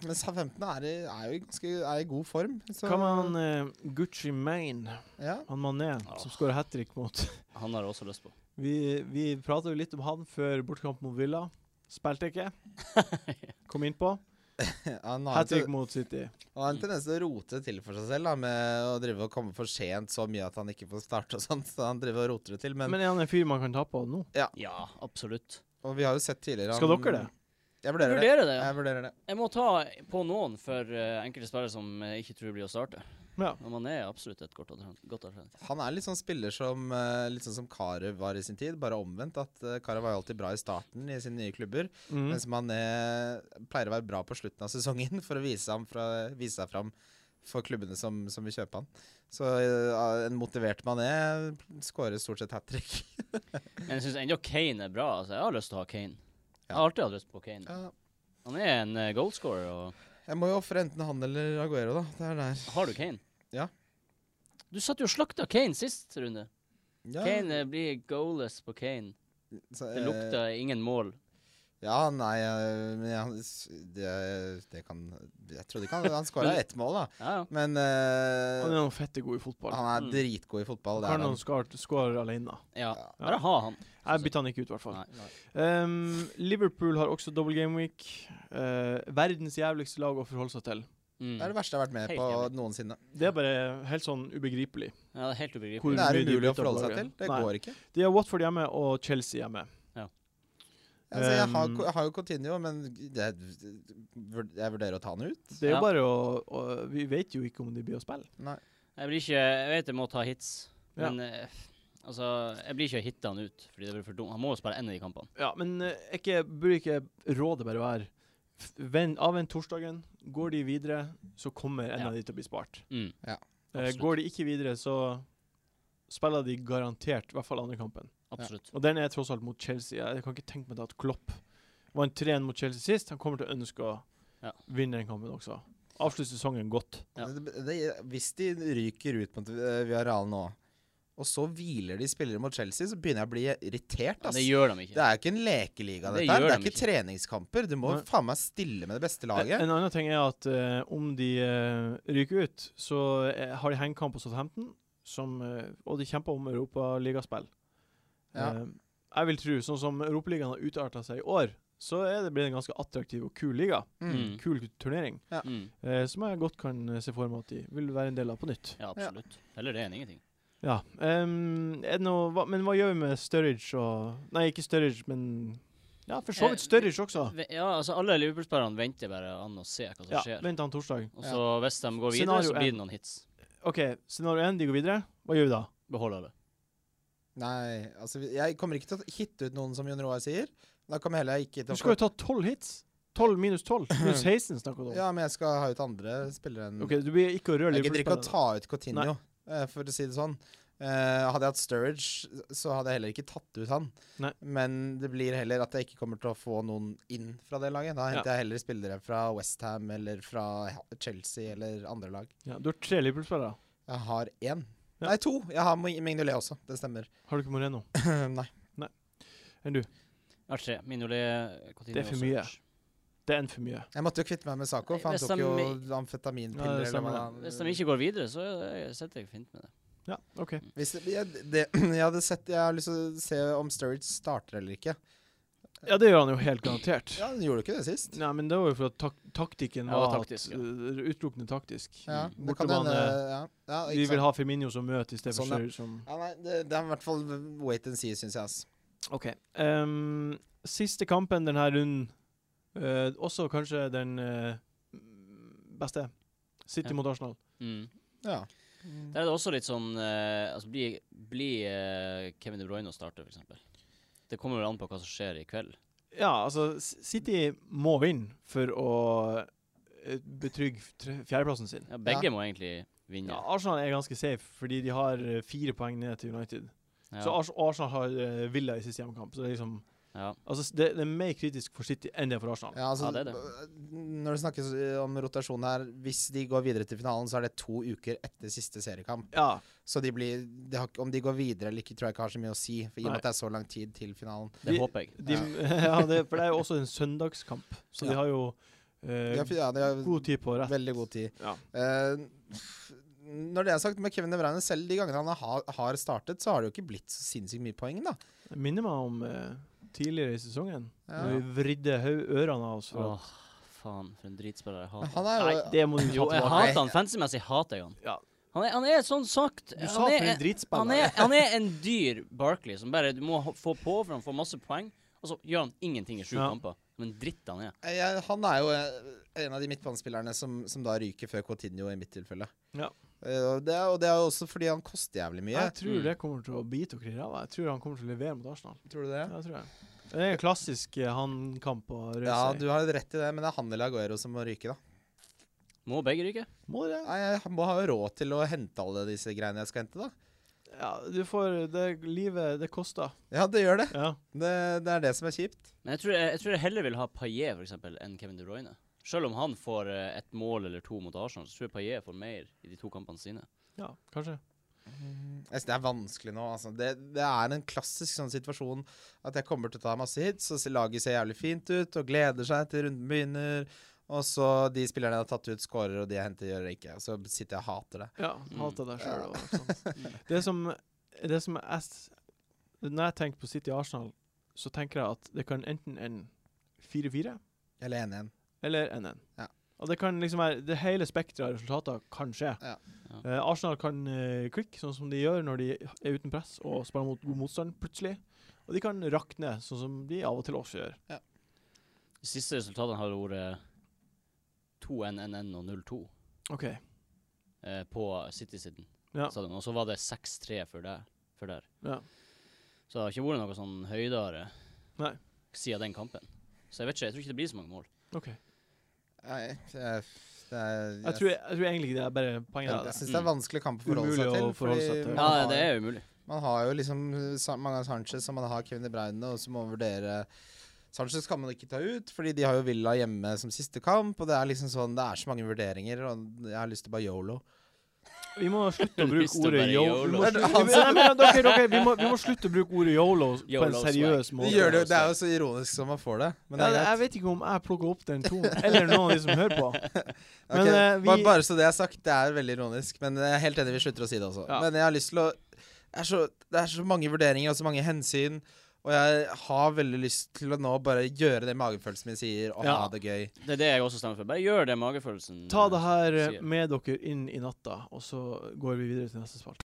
Men Southampton er, i- er jo i ganske er i god form. Så, Hva med han eh, Gucci Maine, ja. han Mané, som skårer hat trick mot Han har jeg også lyst på. Vi, vi pratet jo litt om han før bortkamp mot Villa. Spilte ikke. Kom innpå. Han har, Hat en, trick mot City. ten- han har en tendens til å rote det til for seg selv da, med å drive og komme for sent så mye at han ikke får starte og sånt. Så han driver og roter det til. Men, Men er han en fyr man kan ta på nå? Ja, absolutt. og vi har jo sett tidligere Skal han- dere det? Jeg Jeg vurderer det. vurderer det. Jeg vurderer det. Jeg må ta på noen for eh, enkelte spillere som jeg ikke tror blir å starte. Ja. Men man er absolutt et godt altern- godt alternativ. Han er litt sånn spiller som eh, Litt sånn som Karev var i sin tid, bare omvendt. At eh, Karev var jo alltid bra i starten i sine nye klubber, Mm. mens man eh, pleier å være bra på slutten av sesongen for å vise, ham fra, vise seg fram for klubbene som, som vil kjøpe han. Så eh, en motivert mané skårer stort sett hat trick. Men jeg syns ennå Kane er bra. altså. Jeg har lyst til å ha Kane. Jeg Ja. har alltid hatt lyst på Kane. Ja. Han er en eh, goalscorer, og Jeg må jo ofre enten han eller Aguero, da. Det er der. har du Kane? Ja. Du satt jo og slakta Kane sist runde. Ja, Kane eh, blir goalless på Kane. så, Det eh, lukta ingen mål. Ja, nei eh, men ja, s- det, det kan Jeg trodde ikke han, han skåra Men- ett mål, da. Ja, ja. Men eh, Han er noe fette god i fotball. han er Mm. dritgod i fotball. Det Kan er han han. skåre alene? ja. Ja. Bare ha han. Jeg bytter han ikke ut, i hvert fall. Nei. Um, Liverpool har også double game week. Eh, verdens jævligste lag å forholde seg til. Mm. Det er det verste jeg har vært med Helt på jævlig. noensinne. Det er bare helt sånn ubegripelig. Ja, det er helt Hvor- ubegripelig. Det er mye de umulig å bytter forholde på seg til. laget. Det Nei. går ikke. De har Watford hjemme og Chelsea hjemme. Altså, jeg, har, Um, jeg har jo Coutinho, men det, jeg vurderer å ta han ut. Det er jo Ja. bare å, å Vi vet jo ikke om de blir å spille. Nei. Jeg blir ikke Jeg vet jeg må ta hits, Ja. men eh, altså Jeg blir ikke å hitte han ut, fordi det blir for dumt. Han må jo spille en av de kampene. Ja, men eh, ikke, burde ikke rådet bare være f- vent- Avvent torsdagen. Går de videre, så kommer en Ja. av de til å bli spart. Mm. Eh, Absolutt. går de ikke videre, så spiller de garantert i hvert fall andre kampen. Absolutt. Og den er tross alt mot Chelsea. Jeg kan ikke tenke meg det at Klopp vant 3-1 mot Chelsea sist. Han kommer til å ønske å Ja. vinne den kampen også. Avslutte sesongen godt. Ja. Det, det, hvis de ryker ut mot eh, Villarreal nå, og så hviler de spillere mot Chelsea, så begynner jeg å bli irritert. Ja, ass. det gjør de Det ikke. er jo ikke en lekeliga, Det dette her. gjør Det er dem ikke ikke. treningskamper. Du må Nei. faen meg stille med det beste En laget. en annen ting er at eh, om de eh, ryker ut, så eh, har de hengekamp på Southampton, som, eh, og de kjemper om europaligaspill. Ja. Eh, jeg vil tro, sånn som Europaligaen har utarta seg i år, så er det blitt en ganske attraktiv og kul liga. Mm. Mm. Kul turnering. Mm. eh, som jeg godt kan eh, se for meg at de vil være en del av på nytt. Ja, absolutt. Heller det enn ingenting. Ja. em, er det noe, hva, men hva gjør vi med Sturridge og Nei, ikke Sturridge, men Ja, for så Eh, vidt Sturridge også. Ve- Ja, altså Alle Liverpool-spillerne venter bare an å se hva som Ja, skjer. Vent han torsdag. Og så hvis de går videre, Scenario så blir en. det noen hits. OK, scenario én, de går videre. Hva gjør vi da? Behold alle. Nei, altså vi- jeg kommer ikke til å hitte ut noen, som Jon Roar sier. Da kommer jeg heller ikke til Du å skal jo ta tolv hits. Tolv minus tolv. Minus 16 snakker du om. Ja, men jeg skal ha ut andre spillere enn OK, du blir ikke å røre Jeg gidder ikke å Liverpool-spillerne. ta ut Coutinho, eh, for å si det sånn. Eh, hadde jeg hatt Sturridge, så hadde jeg heller ikke tatt ut han. Nei. Men det blir heller at jeg ikke kommer til å få noen inn fra det laget. Da Ja. henter jeg heller spillere fra Westham eller fra Chelsea eller andre lag. Ja, du har tre Liverpool-spillere. Jeg har én. Ja. Nei, to. Jeg har Mag- Mignolet også. Det stemmer. Har du ikke Moreno? Nei. Ja, tre. Minolet, Coutinho Det er for og mye. Sturridge. Det er en for mye. Jeg måtte jo kvitte meg med Sako, for han Hvis tok de- jo amfetaminpiller. Ja, det eller stemmer hva det. han- Hvis de ikke går videre, så eh, sitter jeg fint med det. Ja, OK. Hvis det, jeg, det, jeg hadde sett Jeg har lyst til å se om Sturridge starter eller ikke. Ja, det gjør han jo helt garantert. Ja, Han gjorde jo ikke det sist. Nei, men det var jo for at tak taktikken Ja, det var var taktisk, taktisk, ja. utelukkende taktisk. Ja, Mm. det kan hende ja, ja, Vi ikke vil sant. ha Firmino som møte i stedet for Sånn, ja. Sturridge som ja, nei, det, det er i hvert fall wait and see, syns jeg. ass. OK. ehm, siste kampen denne runden, eh, også kanskje den eh, beste. City Ja. mot Arsenal. Mm. Ja. Der er det også litt sånn eh, altså Bli, bli eh, Kevin De Bruyne å starte, for eksempel Det kommer vel an på hva som skjer i kveld. Ja, altså S- City må vinne for å eh, betrygge tre- fjerdeplassen sin. Ja, begge Ja. må egentlig vinne. Ja, Arsenal er ganske safe fordi de har eh, fire poeng ned til United. Ja. Så Ars Arsenal har eh, Villa i siste hjemmekamp. Så det er liksom Ja. Altså, s- det, det er mer kritisk for City enn det er for Arsenal. Ja, altså, Ja, det er det. b- Når det snakkes eh, om rotasjon her Hvis de går videre til finalen, så er det to uker etter siste seriekamp. Ja. Så de blir, det har, ikke- om de går videre eller ikke, tror jeg ikke har så mye å si. For I og Nei. med at det er så lang tid til finalen. Det Vi- håper jeg. De, ja. det, for det er jo også en søndagskamp, så Ja. de har jo De eh, har, fi- ja, de har god tid på rett. veldig god tid. Ja. Eh, når det er sagt, med Kevin De Bruyne selv, de gangene han har, har startet, så har det jo ikke blitt så sinnssykt mye poeng, da. Jeg minner meg om eh, tidligere i sesongen, Ja. når vi vridde hø ørene av oss. For, Åh, faen, for en dritspiller jeg Men hater. Han er Nei, jo det må du Jo, ta jeg tilbake. hater han. Fancy-messig hater jeg han. Ja. Han er, han er sånn sagt Du sa han, for er, en han, drittspiller. er, han er en dyr Barkley som bare du må ho- få på for han får masse poeng, og så gjør han ingenting i sju Ja. kamper. Men dritt han er. jeg, Han er jo eh, en av de midtbanespillerne som, som da ryker før Coutinho i mitt tilfelle. Ja. Eh, og, det er, og det er jo også fordi han koster jævlig mye. Jeg tror Mm. det kommer til å bite og klirre av. Jeg tror han kommer til å levere mot Arsenal. Tror du det? Ja, Det tror jeg. Det er en klassisk eh, han-kamp å røse Ja, i. du har rett i det, men det er han eller Aguero som må ryke, da. Må begge ryke? Må det? Nei, Jeg må ha råd til å hente alle disse greiene jeg skal hente, da. Ja, du får det Livet, det koster. Ja, det gjør det. Ja. Det, det er det som er kjipt. Men jeg tror jeg, jeg, tror jeg heller vil ha Paillet for eksempel, enn Kevin De Bruyne. Selv om han får eh, et mål eller to mot Arsenal, så tror jeg Paillet får mer i de to kampene sine. ja, kanskje. Jeg synes det er vanskelig nå. Altså. Det, det er en klassisk sånn situasjon at jeg kommer til å ta masse hits, og se- laget ser jævlig fint ut og gleder seg til runden begynner. Og så de spillerne jeg har tatt ut, scorer, og de jeg henter, gjør det ikke. Og så sitter jeg og hater det. Ja, Mm. hater deg sjøl og sånt. Det som, det som jeg s- Når jeg tenker på City Arsenal, så tenker jeg at det kan enten ende 4-4 Eller 1-1. eller 1-1. Ja. Og det kan liksom være Det hele spekteret av resultater kan skje. Ja. Ja. Eh, Arsenal kan eh, klikke, sånn som de gjør når de er uten press og spiller mot god motstand plutselig. Og de kan rakne, sånn som de av og til også gjør. De siste resultatene har vært eh, 2-1-1-1 og 0-2 OK. eh, på City-siden. Ja. stadion. Og så var det 6-3 for, der- for der. Ja. Så det har ikke vært noe sånn høydere Nei. siden den kampen. Så jeg vet ikke, jeg tror ikke det blir så mange mål. ok. Nei, det, det er, Jeg, tror, jeg, tror egentlig det er bare Jeg, poenget. jeg av det. syns det er vanskelig kamp å forholde Umulig seg til. å forholde seg fordi til. man Ja, har- det er umulig. Man har jo liksom Sa- mange av Sanchez og man har Kevin De Bruyne, og så må man vurdere Sanchez kan man ikke ta ut, fordi de har jo Villa hjemme som siste kamp. Og det er liksom sånn, det er så mange vurderinger, og jeg har lyst til å bare yolo. vi må slutte å Lyst bruke til ordet å bare yo- vi YOLO. må Er det slutte- han vi- nei, men dere- dere, Vi må- vi må slutte å bruke ordet yolo på en YOLO swag. seriøs Det, måte. gjør det, jo- det er jo så ironisk som man får det. Men det Ja, er det- jeg greit. vet ikke om jeg plukker opp den tonen, eller noen av de som hører på. men, Ok, eh, bare, vi- bare så det er sagt, det er veldig ironisk. Men jeg er helt enig, vi slutter å si det også. Ja. Men jeg har lyst til å det er, så, det er så mange vurderinger og så mange hensyn. Og jeg har veldig lyst til å nå bare gjøre det magefølelsen min sier, og Ja. ha det gøy. Det er det jeg også stemmer for. Bare gjør det magefølelsen Ta det her eh, Sier. med dere inn i natta, og så går vi videre til neste spalte.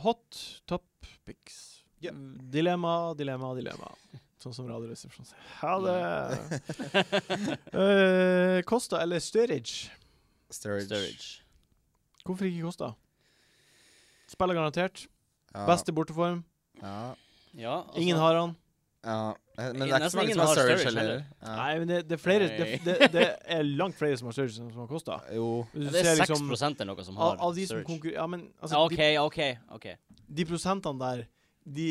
Hot top pics. Ja. Dilemma, dilemma, dilemma. Sånn som Radioresepsjonen sier. Ha det! Eh, Costa eller Sturridge? Sturridge. Sturridge. Hvorfor ikke Costa? Spiller garantert. Ja, Beste borteform. Ja, Ja, altså, Ingen har han. ja. eh, Men det er ikke Nesten så mange ingen som har har Sturridge Sturridge heller. Ja. Nei, men det, det, er flere, det, Nei. det, det er langt flere som har Sturridge enn som har Costa. Jo. Hvis du ja, Det ser er 6 liksom eller noe som har av, av de som Sturridge. konkurrerer Ja, men altså, Ja, OK, OK. ok de, de prosentene der de,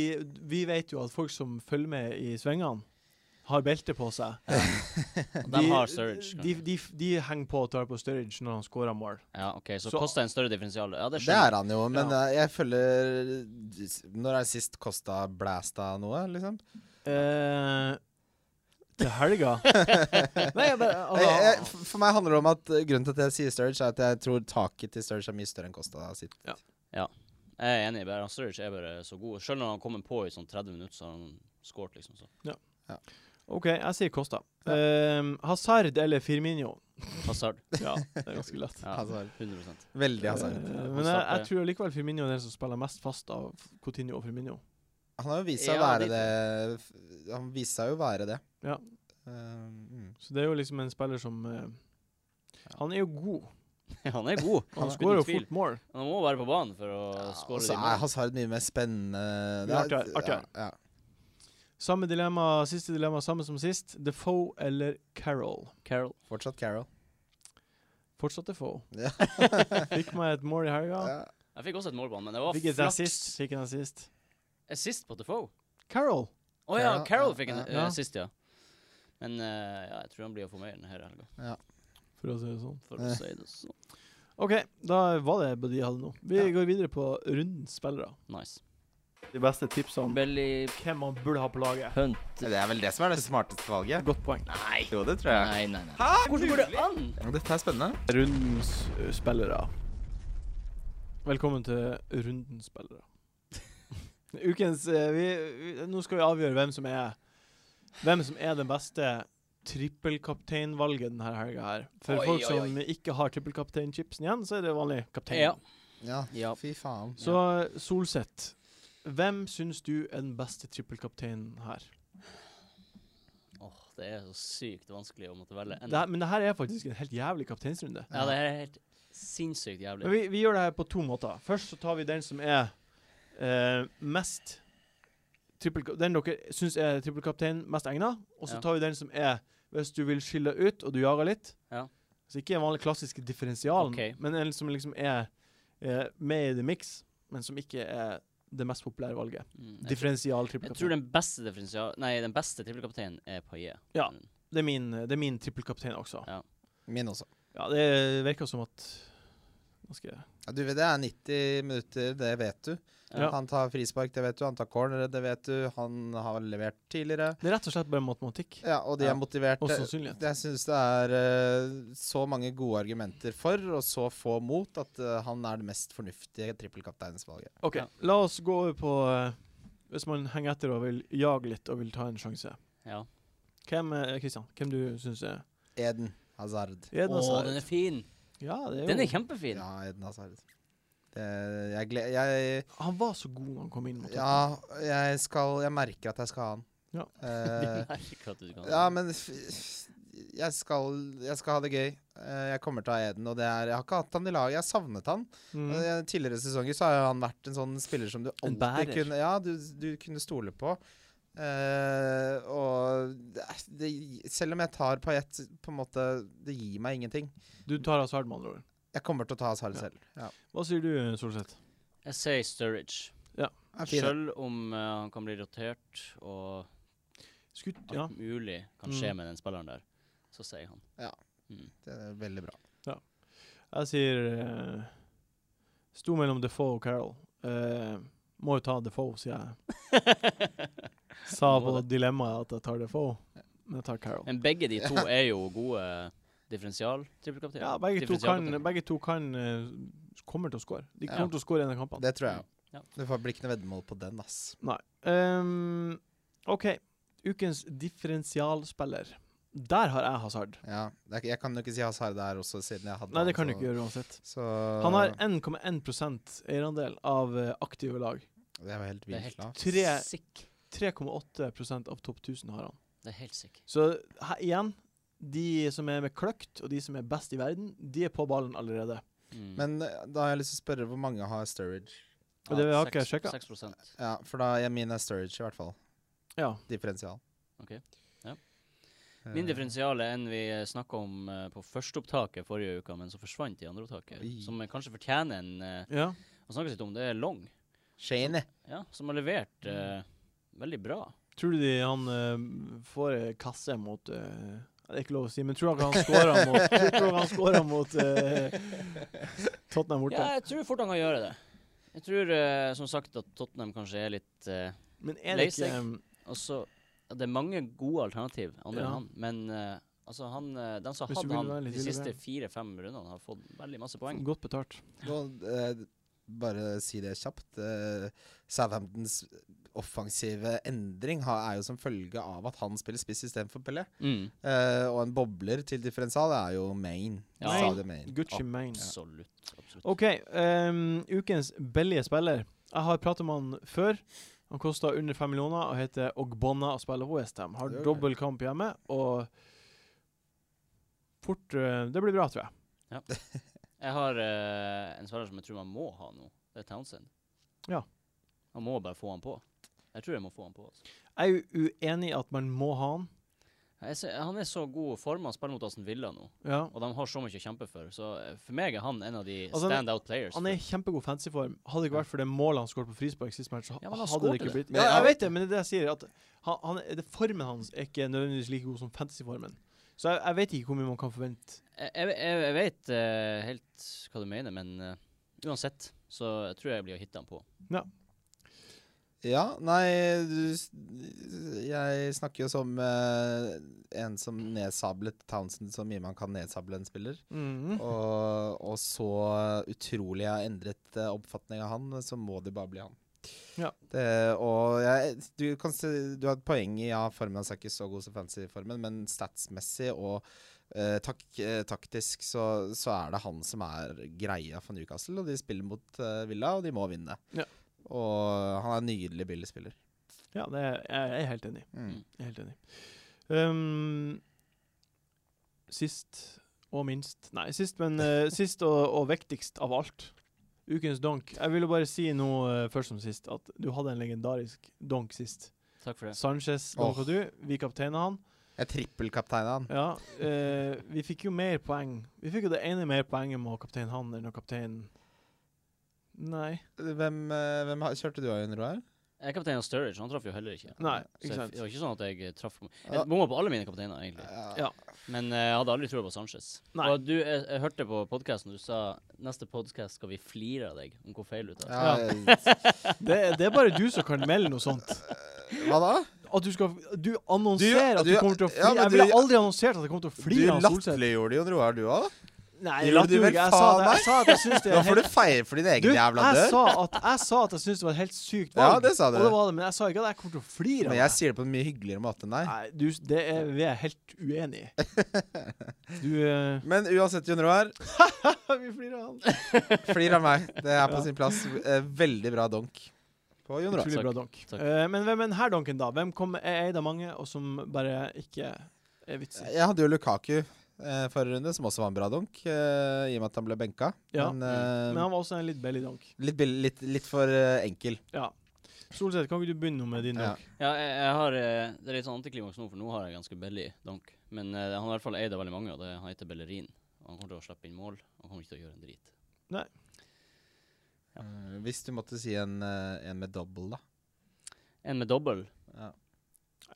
Vi vet jo at folk som følger med i svingene, har belte på seg. De har Sturridge. De, kanskje. de, de henger på og tar på Sturridge når han scorer mål. Ja, ok, Så, Så- koster en større differensial. Ja, det Det er skjønner jeg. han jo, men Ja. eh, jeg føler Når er det sist Costa blæsta noe, liksom? Eh, til helga Nei, jeg bare altså, Nei, jeg, f- for meg handler det om at eh, grunnen til at jeg sier Sturridge, er at jeg tror taket til Sturridge er mye større enn Costa sitt. Jeg er enig. bare han Sturridge er bare så god. Selv når han kommer på i sånn 30 minutter, så har han scoret, liksom. Så. OK, jeg sier Costa. Eh, Hazard eller Firmino? Hazard. Ja, det er ganske lett. Ja, Hazard. 100 Veldig Eh, hasard. men jeg, jeg Hazard, tror likevel Firmino er den som spiller mest fast av Coutinho og Firmino. Han har jo vist seg å Ja, være de- det f- Han viste seg jo å være det. Ja. Eh, mm. Så det er jo liksom en spiller som eh, Han er jo god. Han er god. Han Uten skårer jo tvil. fort altså, mål. Han må være på banen for å Ja, altså, og skåre så de er målene. Hazard mye mer spennende. Mye Det er- artigere- artigere. Ja, ja. Samme dilemma, siste dilemma, samme som sist. Defoe eller Carol? Carroll. Fortsatt Carol. Fortsatt Defoe. Ja. Fikk meg et mål i helga. Ja. Jeg fikk også et målbånd, men det var Fikk en flaks. assist. Fikk en assist. Assist på Defoe. Carol! Å ja, Carroll, Carroll ja, fikk en ja. eh, Ja. assist, ja. Men eh, ja, jeg tror han blir å få mer enn denne helga, For å si det sånn. for å si det sånn. OK, da var det det de hadde nå. Vi Ja. går videre på rundens spillere. Nice. De beste tipsene om Belly hvem man burde ha på laget. punt. Det er vel det som er det smarteste valget. Godt poeng. Nei. Jo, det tror Nei, nei, nei. Hæ? Hvordan går det an? Dette er spennende. Rundens ø, spillere. Velkommen til Rundens spillere. Ukens ø, vi, vi, Nå skal vi avgjøre hvem som er Hvem som er den beste trippelkapteinvalget denne helga her. For Oi, folk oi, som ikke har trippelkapteinchipsen igjen, så er det vanlig kaptein. Ja. Ja, Ja. fy faen. Så Solseth, hvem syns du er den beste trippelkapteinen her? Åh, det er så sykt vanskelig å måtte velge. En. Det her? Men det her er faktisk en helt jævlig kapteinsrunde. Ja, det her er helt sinnssykt Men jævlig. vi, vi gjør det her på to måter. Først så tar vi den som er eh, mest trippel- Den dere syns er trippelkaptein mest egna, og så Ja. tar vi den som er hvis du vil skille ut og du jager litt. Ja. Så ikke den vanlige klassiske differensialen, Ok. men en som liksom er eh, med i the mix, men som ikke er det mest populære valget. Mm, jeg, tror, Differensial jeg tror trippelkaptein. den beste differensial... Nei, den beste trippelkapteinen er Paillet. Ja. Mm. Det er min, det er min trippelkaptein også. Ja. Min også. Ja, det virker som at Nå skal jeg Ja, du vet det er 90 minutter, det vet du. Ja. Han tar frispark, det vet du. Han tar corner, det vet du. Han har levert tidligere. Det er rett og slett bare matematikk Ja, og de Ja. er motiverte. og sannsynlighet. Jeg syns det er eh, så mange gode argumenter for og så få mot at eh, han er det mest fornuftige trippelkapteinsvalget. OK, Ja. la oss gå over på eh, Hvis man henger etter og vil jage litt og vil ta en sjanse. Ja. Hvem eh, Kristian, hvem du syns er Eden Hazard. er den Åh, altså- den er fin! Ja, det er jo Den er kjempefin. Ja, Eden Hazard. Det, jeg, gle- jeg, Han var så god når han kom inn mot ja, jeg, skal, jeg merker at jeg skal ha han. Ja. Eh, Merker at du kan ja, men f jeg, skal, jeg skal ha det gøy. Eh, jeg kommer til å ha Eden. Og det er, jeg har ikke hatt han i laget. Jeg har savnet han. Tottenham. Eh, Tidligere sesonger så har jo han vært en sånn spiller som du Mm. En alltid bærer. kunne Ja, du, du kunne stole på. Eh, og det, er- det, selv om jeg tar Payet, på en måte Det gir meg ingenting. Mm. Du tar Hazard, med andre ord. Jeg kommer til å ta Hazard Ja. selv. Ja. Hva sier du, Solseth? Jeg sier Sturridge. Selv om eh, han kan bli rotert, og Skutt alt Ja. mulig kan skje Mm. med den spilleren der, så sier jeg han. Mm. Det er veldig bra. Jeg sier eh, Sto mellom Defoe og Carol. Eh, må jo ta Defoe, sier jeg. Sa Må på det. dilemmaet at jeg tar Defoe, men jeg tar Carol. Men begge de to er jo gode differensial-trippelkapteiner. Ja, begge to kan, begge to kan eh, Kommer til å score. De Ja. kommer til å score i en av kampene. Det tror jeg. Ja. Det får- blir ikke noe veddemål på den, ass. Ehm, OK. Ukens differensialspiller. Der har jeg Hazard. Ja, det er, ikke- jeg kan jo ikke si Hazard der også, siden jeg hadde Nei, det kan du han, ikke gjøre uansett. så- Så Han har 1,1 eierandel av eh, aktive lag. Det er jo helt Det er vilt helt lavt. Tre- sick. 3,8 av topp 1000 har han. Det er helt sick. Så her, igjen, de som er med kløkt, og de som er best i verden, de er på ballen allerede. Mm. Men eh, da har jeg lyst til å spørre hvor mange har Sturridge? Og det har ikke jeg seks- sjekket. seks prosent. Ja, for da jeg min er Sturridge, i hvert fall. Ja. Differensial. Ok, ja. Min Eh, differensial er en vi snakka om eh, på førsteopptaket forrige uke, men som forsvant i andreopptaket. Oi. Som eh, kanskje fortjener en eh, ja. Han snakkes litt om det er Long, Shane. ja, som har levert Mm. eh, veldig bra. Tror du de han eh, får ei kasse mot eh, Det er ikke lov å si, men tror dere han scorer mot, tror dere han scorer mot eh, Tottenham borte? Ja, jeg tror fort han kan gjøre det. Jeg tror eh, som sagt at Tottenham kanskje er litt eh, Men er det ikke Leipzig. um, også, at Det er mange gode alternativ andre Ja. enn han, men eh, altså han, eh, den som Hvis du hadde vil han være litt Mm. de siste irrelevant. fire-fem rundene, har fått veldig masse poeng. godt betalt? Nå, eh, bare si det kjapt. Eh, Southamptons offensive endring har, er jo som følge av at han spiller spiss istedenfor Pelé. Mm. Eh, og en bobler til differensial er jo main. Ja. Sadio main. Gucci Mane. Absolutt. absolutt. OK, um, ukens billige spiller. Jeg har pratet med han før. Han koster under fem millioner og heter Ogbonna og spiller Westham. Har Det gjør dobbel kamp hjemme og fort eh, Det blir bra, tror jeg. Jeg har eh, en spiller som jeg tror man må ha nå. Det er Townsend. Ja. Man må bare få han på. Jeg tror jeg må få han på. Altså. Jeg er jo uenig i at man må ha han. Jeg ser, han er så god form. Han spiller mot Aston Villa nå, Ja. og de har så mye å kjempe for. Så eh, for meg er han en av de Altså, han er- standout players. Han er i kjempegod fancyform. Hadde det ikke vært for det målet han skåret på frispark sist match, så Ja, men han hadde det skårte ikke det. blitt Ja, Ja, jeg ja. vet det, men det er det jeg sier. At han, han, det formen hans er ikke nødvendigvis like god som fantasyformen. Så jeg, jeg vet ikke hvor mye man kan forvente. jeg, jeg, jeg jeg vet eh, helt hva du mener, men eh, uansett så jeg tror jeg blir å hitte han på. Ja, nei du, s- Jeg snakker jo som eh, en som nedsablet Townsend så mye man kan nedsable en spiller. Og, og så utrolig jeg har endret eh, oppfatning av han, så må det bare bli han. Ja. Det, og jeg, du, kan se, du har et poeng i ja, formen hans er ikke så god som fancy-formen, men statsmessig og eh, tak, eh, taktisk så, så er det han som er greia for Newcastle. Og de spiller mot eh, Villa, og de må vinne. Ja. Og han er en nydelig billigspiller. Ja, det er, jeg er helt enig. Mm. Mm. Jeg er helt enig. Ehm, sist og minst Nei, sist, men eh, sist og, og vektigst av alt. Ukens donk. Jeg ville bare si noe eh, først som sist, at du hadde en legendarisk donk sist. Takk for det. Sanchez donka Åh. du. Vi kapteina han. Jeg trippelkapteina han. Ja, eh, vi fikk jo mer poeng. Vi fikk jo det ene mer poenget med å kaptein han enn å kaptein Nei. Hvem, eh, hvem har- kjørte du av under her? Jeg er kaptein av Sturridge, han traff jo heller ikke. Nei, Så jeg, ikke det sant. var ikke sånn at jeg traff Ja. Jeg bomma på alle mine kapteiner, egentlig. Ja. Men eh, jeg hadde aldri troa på Sanchez. Nei. Og du, jeg, jeg hørte på podkasten du sa neste podkast skal vi flire av deg om hvor feil du tar. Ja, Det, det er bare du som kan melde noe sånt. Hva da? At du skal Du annonserer at Du- du, kommer til å ja, flire. men jeg ville du- aldri annonsert at jeg kommer til å flire av du Solseth. latterliggjorde jo Roar, du òg. Nei, Gjorde latterlig, du vel jeg sa faen det. Jeg sa at jeg syns det Nå er får helt du feire for din egen du, jævla jeg dør. sa, at, jeg sa at jeg syntes det var et helt sykt Ja, valg, det sa du. og det var det, men jeg sa ikke at jeg kommer til å flire Men av jeg det. sier det på en mye hyggeligere måte enn deg. Nei, du, det er vi er helt uenig i. Du eh, Men uansett, Jon Roar, Vi flirer av han. flir av meg. Det er på Ja. sin plass. Eh, Veldig bra donk på Jon Roar. Utrolig bra Takk. donk. Takk. Eh, men hvem er denne donken, da? Hvem kom, er eid av mange, og som bare ikke er vitsig? Jeg hadde jo Lukaku eh, forrige runde, som også var en bra donk, eh, i og med at han ble benka. Ja, Men, eh, Men han var også en litt belly donk. litt, bill- litt, litt for eh, enkel. Ja. Solseth, kan ikke du begynne med din Ja. donk? Ja, jeg, jeg har, eh, det er litt sånn antiklimaks nå, for nå har jeg ganske billig donk. Men eh, han er i hvert fall eid av veldig mange, og det, han heter Bellerin. Og han kommer til å slippe inn mål. og Han kommer ikke til å gjøre en drit. Ja. Eh, Hvis du måtte si en, eh, en med double, da. En med dobbel. Ja.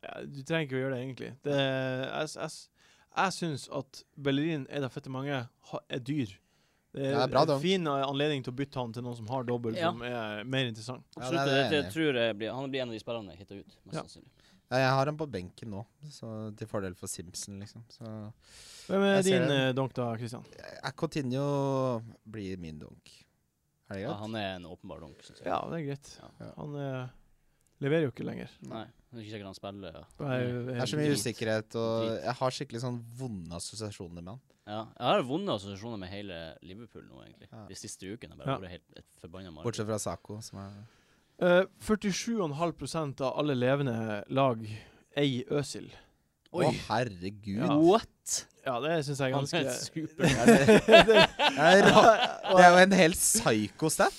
Ja, du trenger ikke å gjøre det, egentlig. Det, jeg, jeg, Jeg syns at Bellerin, eid av fette mange, ha- er dyr. Det er Ja, bra en dunk. fin eh, anledning til å bytte han til noen som har dobbel, Ja. som er mer interessant. Ja, det er Absolutt. det jeg det, er enig det, i. tror jeg blir, han blir en av de spillerne jeg hitter ut, mest Ja. sannsynlig. Ja, jeg har han på benken nå, så til fordel for Simpson, liksom. Så Hvem er Jeg ser din den. eh, donk, da, Christian? eh, Coutinho blir min dunk. Er det Ja, greit? han er en åpenbar donk, syns jeg. Ja, det er greit. Ja. Han eh, leverer jo ikke lenger. Nei, det er ikke sikkert han spiller. Ja. Det er, det er så mye drit. usikkerhet, og Drit. jeg har skikkelig sånn vonde assosiasjoner med han. Ja, jeg har vonde assosiasjoner med hele Liverpool nå, egentlig. Ja. De siste ukene har Ja. bare vært helt et forbanna mareritt. Bortsett fra Sako, som er Eh, 47,5 av alle levende lag eier Øsil. Å, herregud! Ja. What?! Ja, det syns jeg er Han ganske er super. Er det, er det, ra- det er jo en helt psycho stat.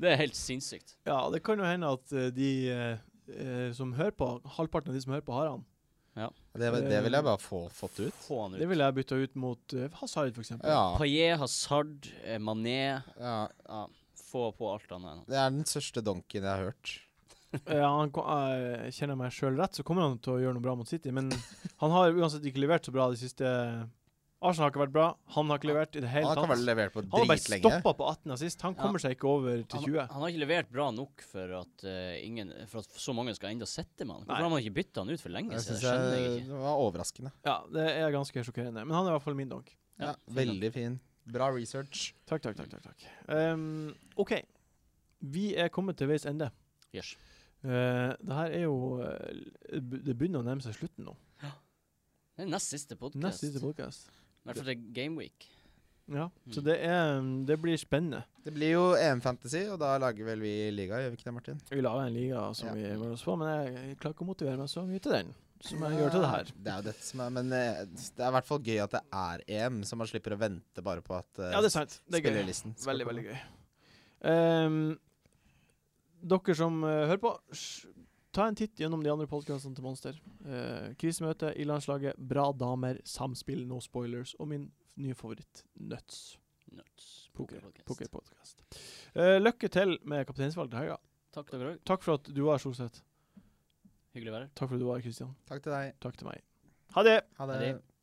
Det er helt sinnssykt. Ja, det kan jo hende at eh, de eh, eh, som hører på, halvparten av de som hører på, har han. Det, det vil jeg bare få fått ut. Få han ut. Det ville jeg bytta ut mot eh, Hazard, f.eks. Ja. Paillet, Hazard, eh, Mané ja. ja, Få på alt annet enn han. Det er den største donken jeg har hørt. Ja, han, ko- eh, kjenner jeg meg sjøl rett, så kommer han til å gjøre noe bra mot City. Men han har uansett ikke levert så bra de siste Arsenal har ikke vært bra. Han har ikke levert i det hele Han kan tatt. vel levert på Han har bare dritlenge. stoppa på 18 assist. Han Ja. kommer seg ikke over til Han, 20. han har ikke levert bra nok for at, eh, ingen, for at så mange skal enda sitte med han. Nei. Hvorfor har man ikke bytta han ut for lenge Jeg siden? synes Det skjønner jeg jeg- ikke. det var overraskende. Ja, det er ganske sjokkerende. Men han er i hvert fall min donk. Ja, Ja, fin veldig fin. Bra research. Takk, takk, takk. takk, takk. Ehm, OK. Vi er kommet til veis ende. Yes. Uh, det her er jo eh, b- Det begynner å nærme seg slutten nå. Det er nest siste Nest podkast. siste I podcast hvert fall til Gameweek. Ja, så Mm. det, er, det blir spennende. Det blir jo EM Fantasy, og da lager vel vi liga, gjør vi ikke det, Martin? Vi lager en liga som Ja. vi går oss på, men jeg, jeg klarer ikke å motivere meg så mye til den som jeg gjør til det her. Det er jo dette som er Men eh, det er i hvert fall gøy at det er EM, så man slipper å vente bare på at eh, Ja, det er sant. Det er gøy. spillerlisten skal Veldig, komme. veldig gøy. Ehm, dere som eh, hører på, sj- ta en titt gjennom de andre podkastene til Monster. Eh, krisemøte i landslaget, Bra damer, Samspill, No spoilers og min nye favoritt, Nuts. Nuts. Poker- Pokerpodcast. Pokerpodkast. Eh, lykke til med kapteinsvalget til helga. Takk dere òg. Takk for at du var her, Solseth. Hyggelig å være her. Takk for at du var her, Kristian. Takk til deg. Takk til meg. Ha det! Ha Ha det. det.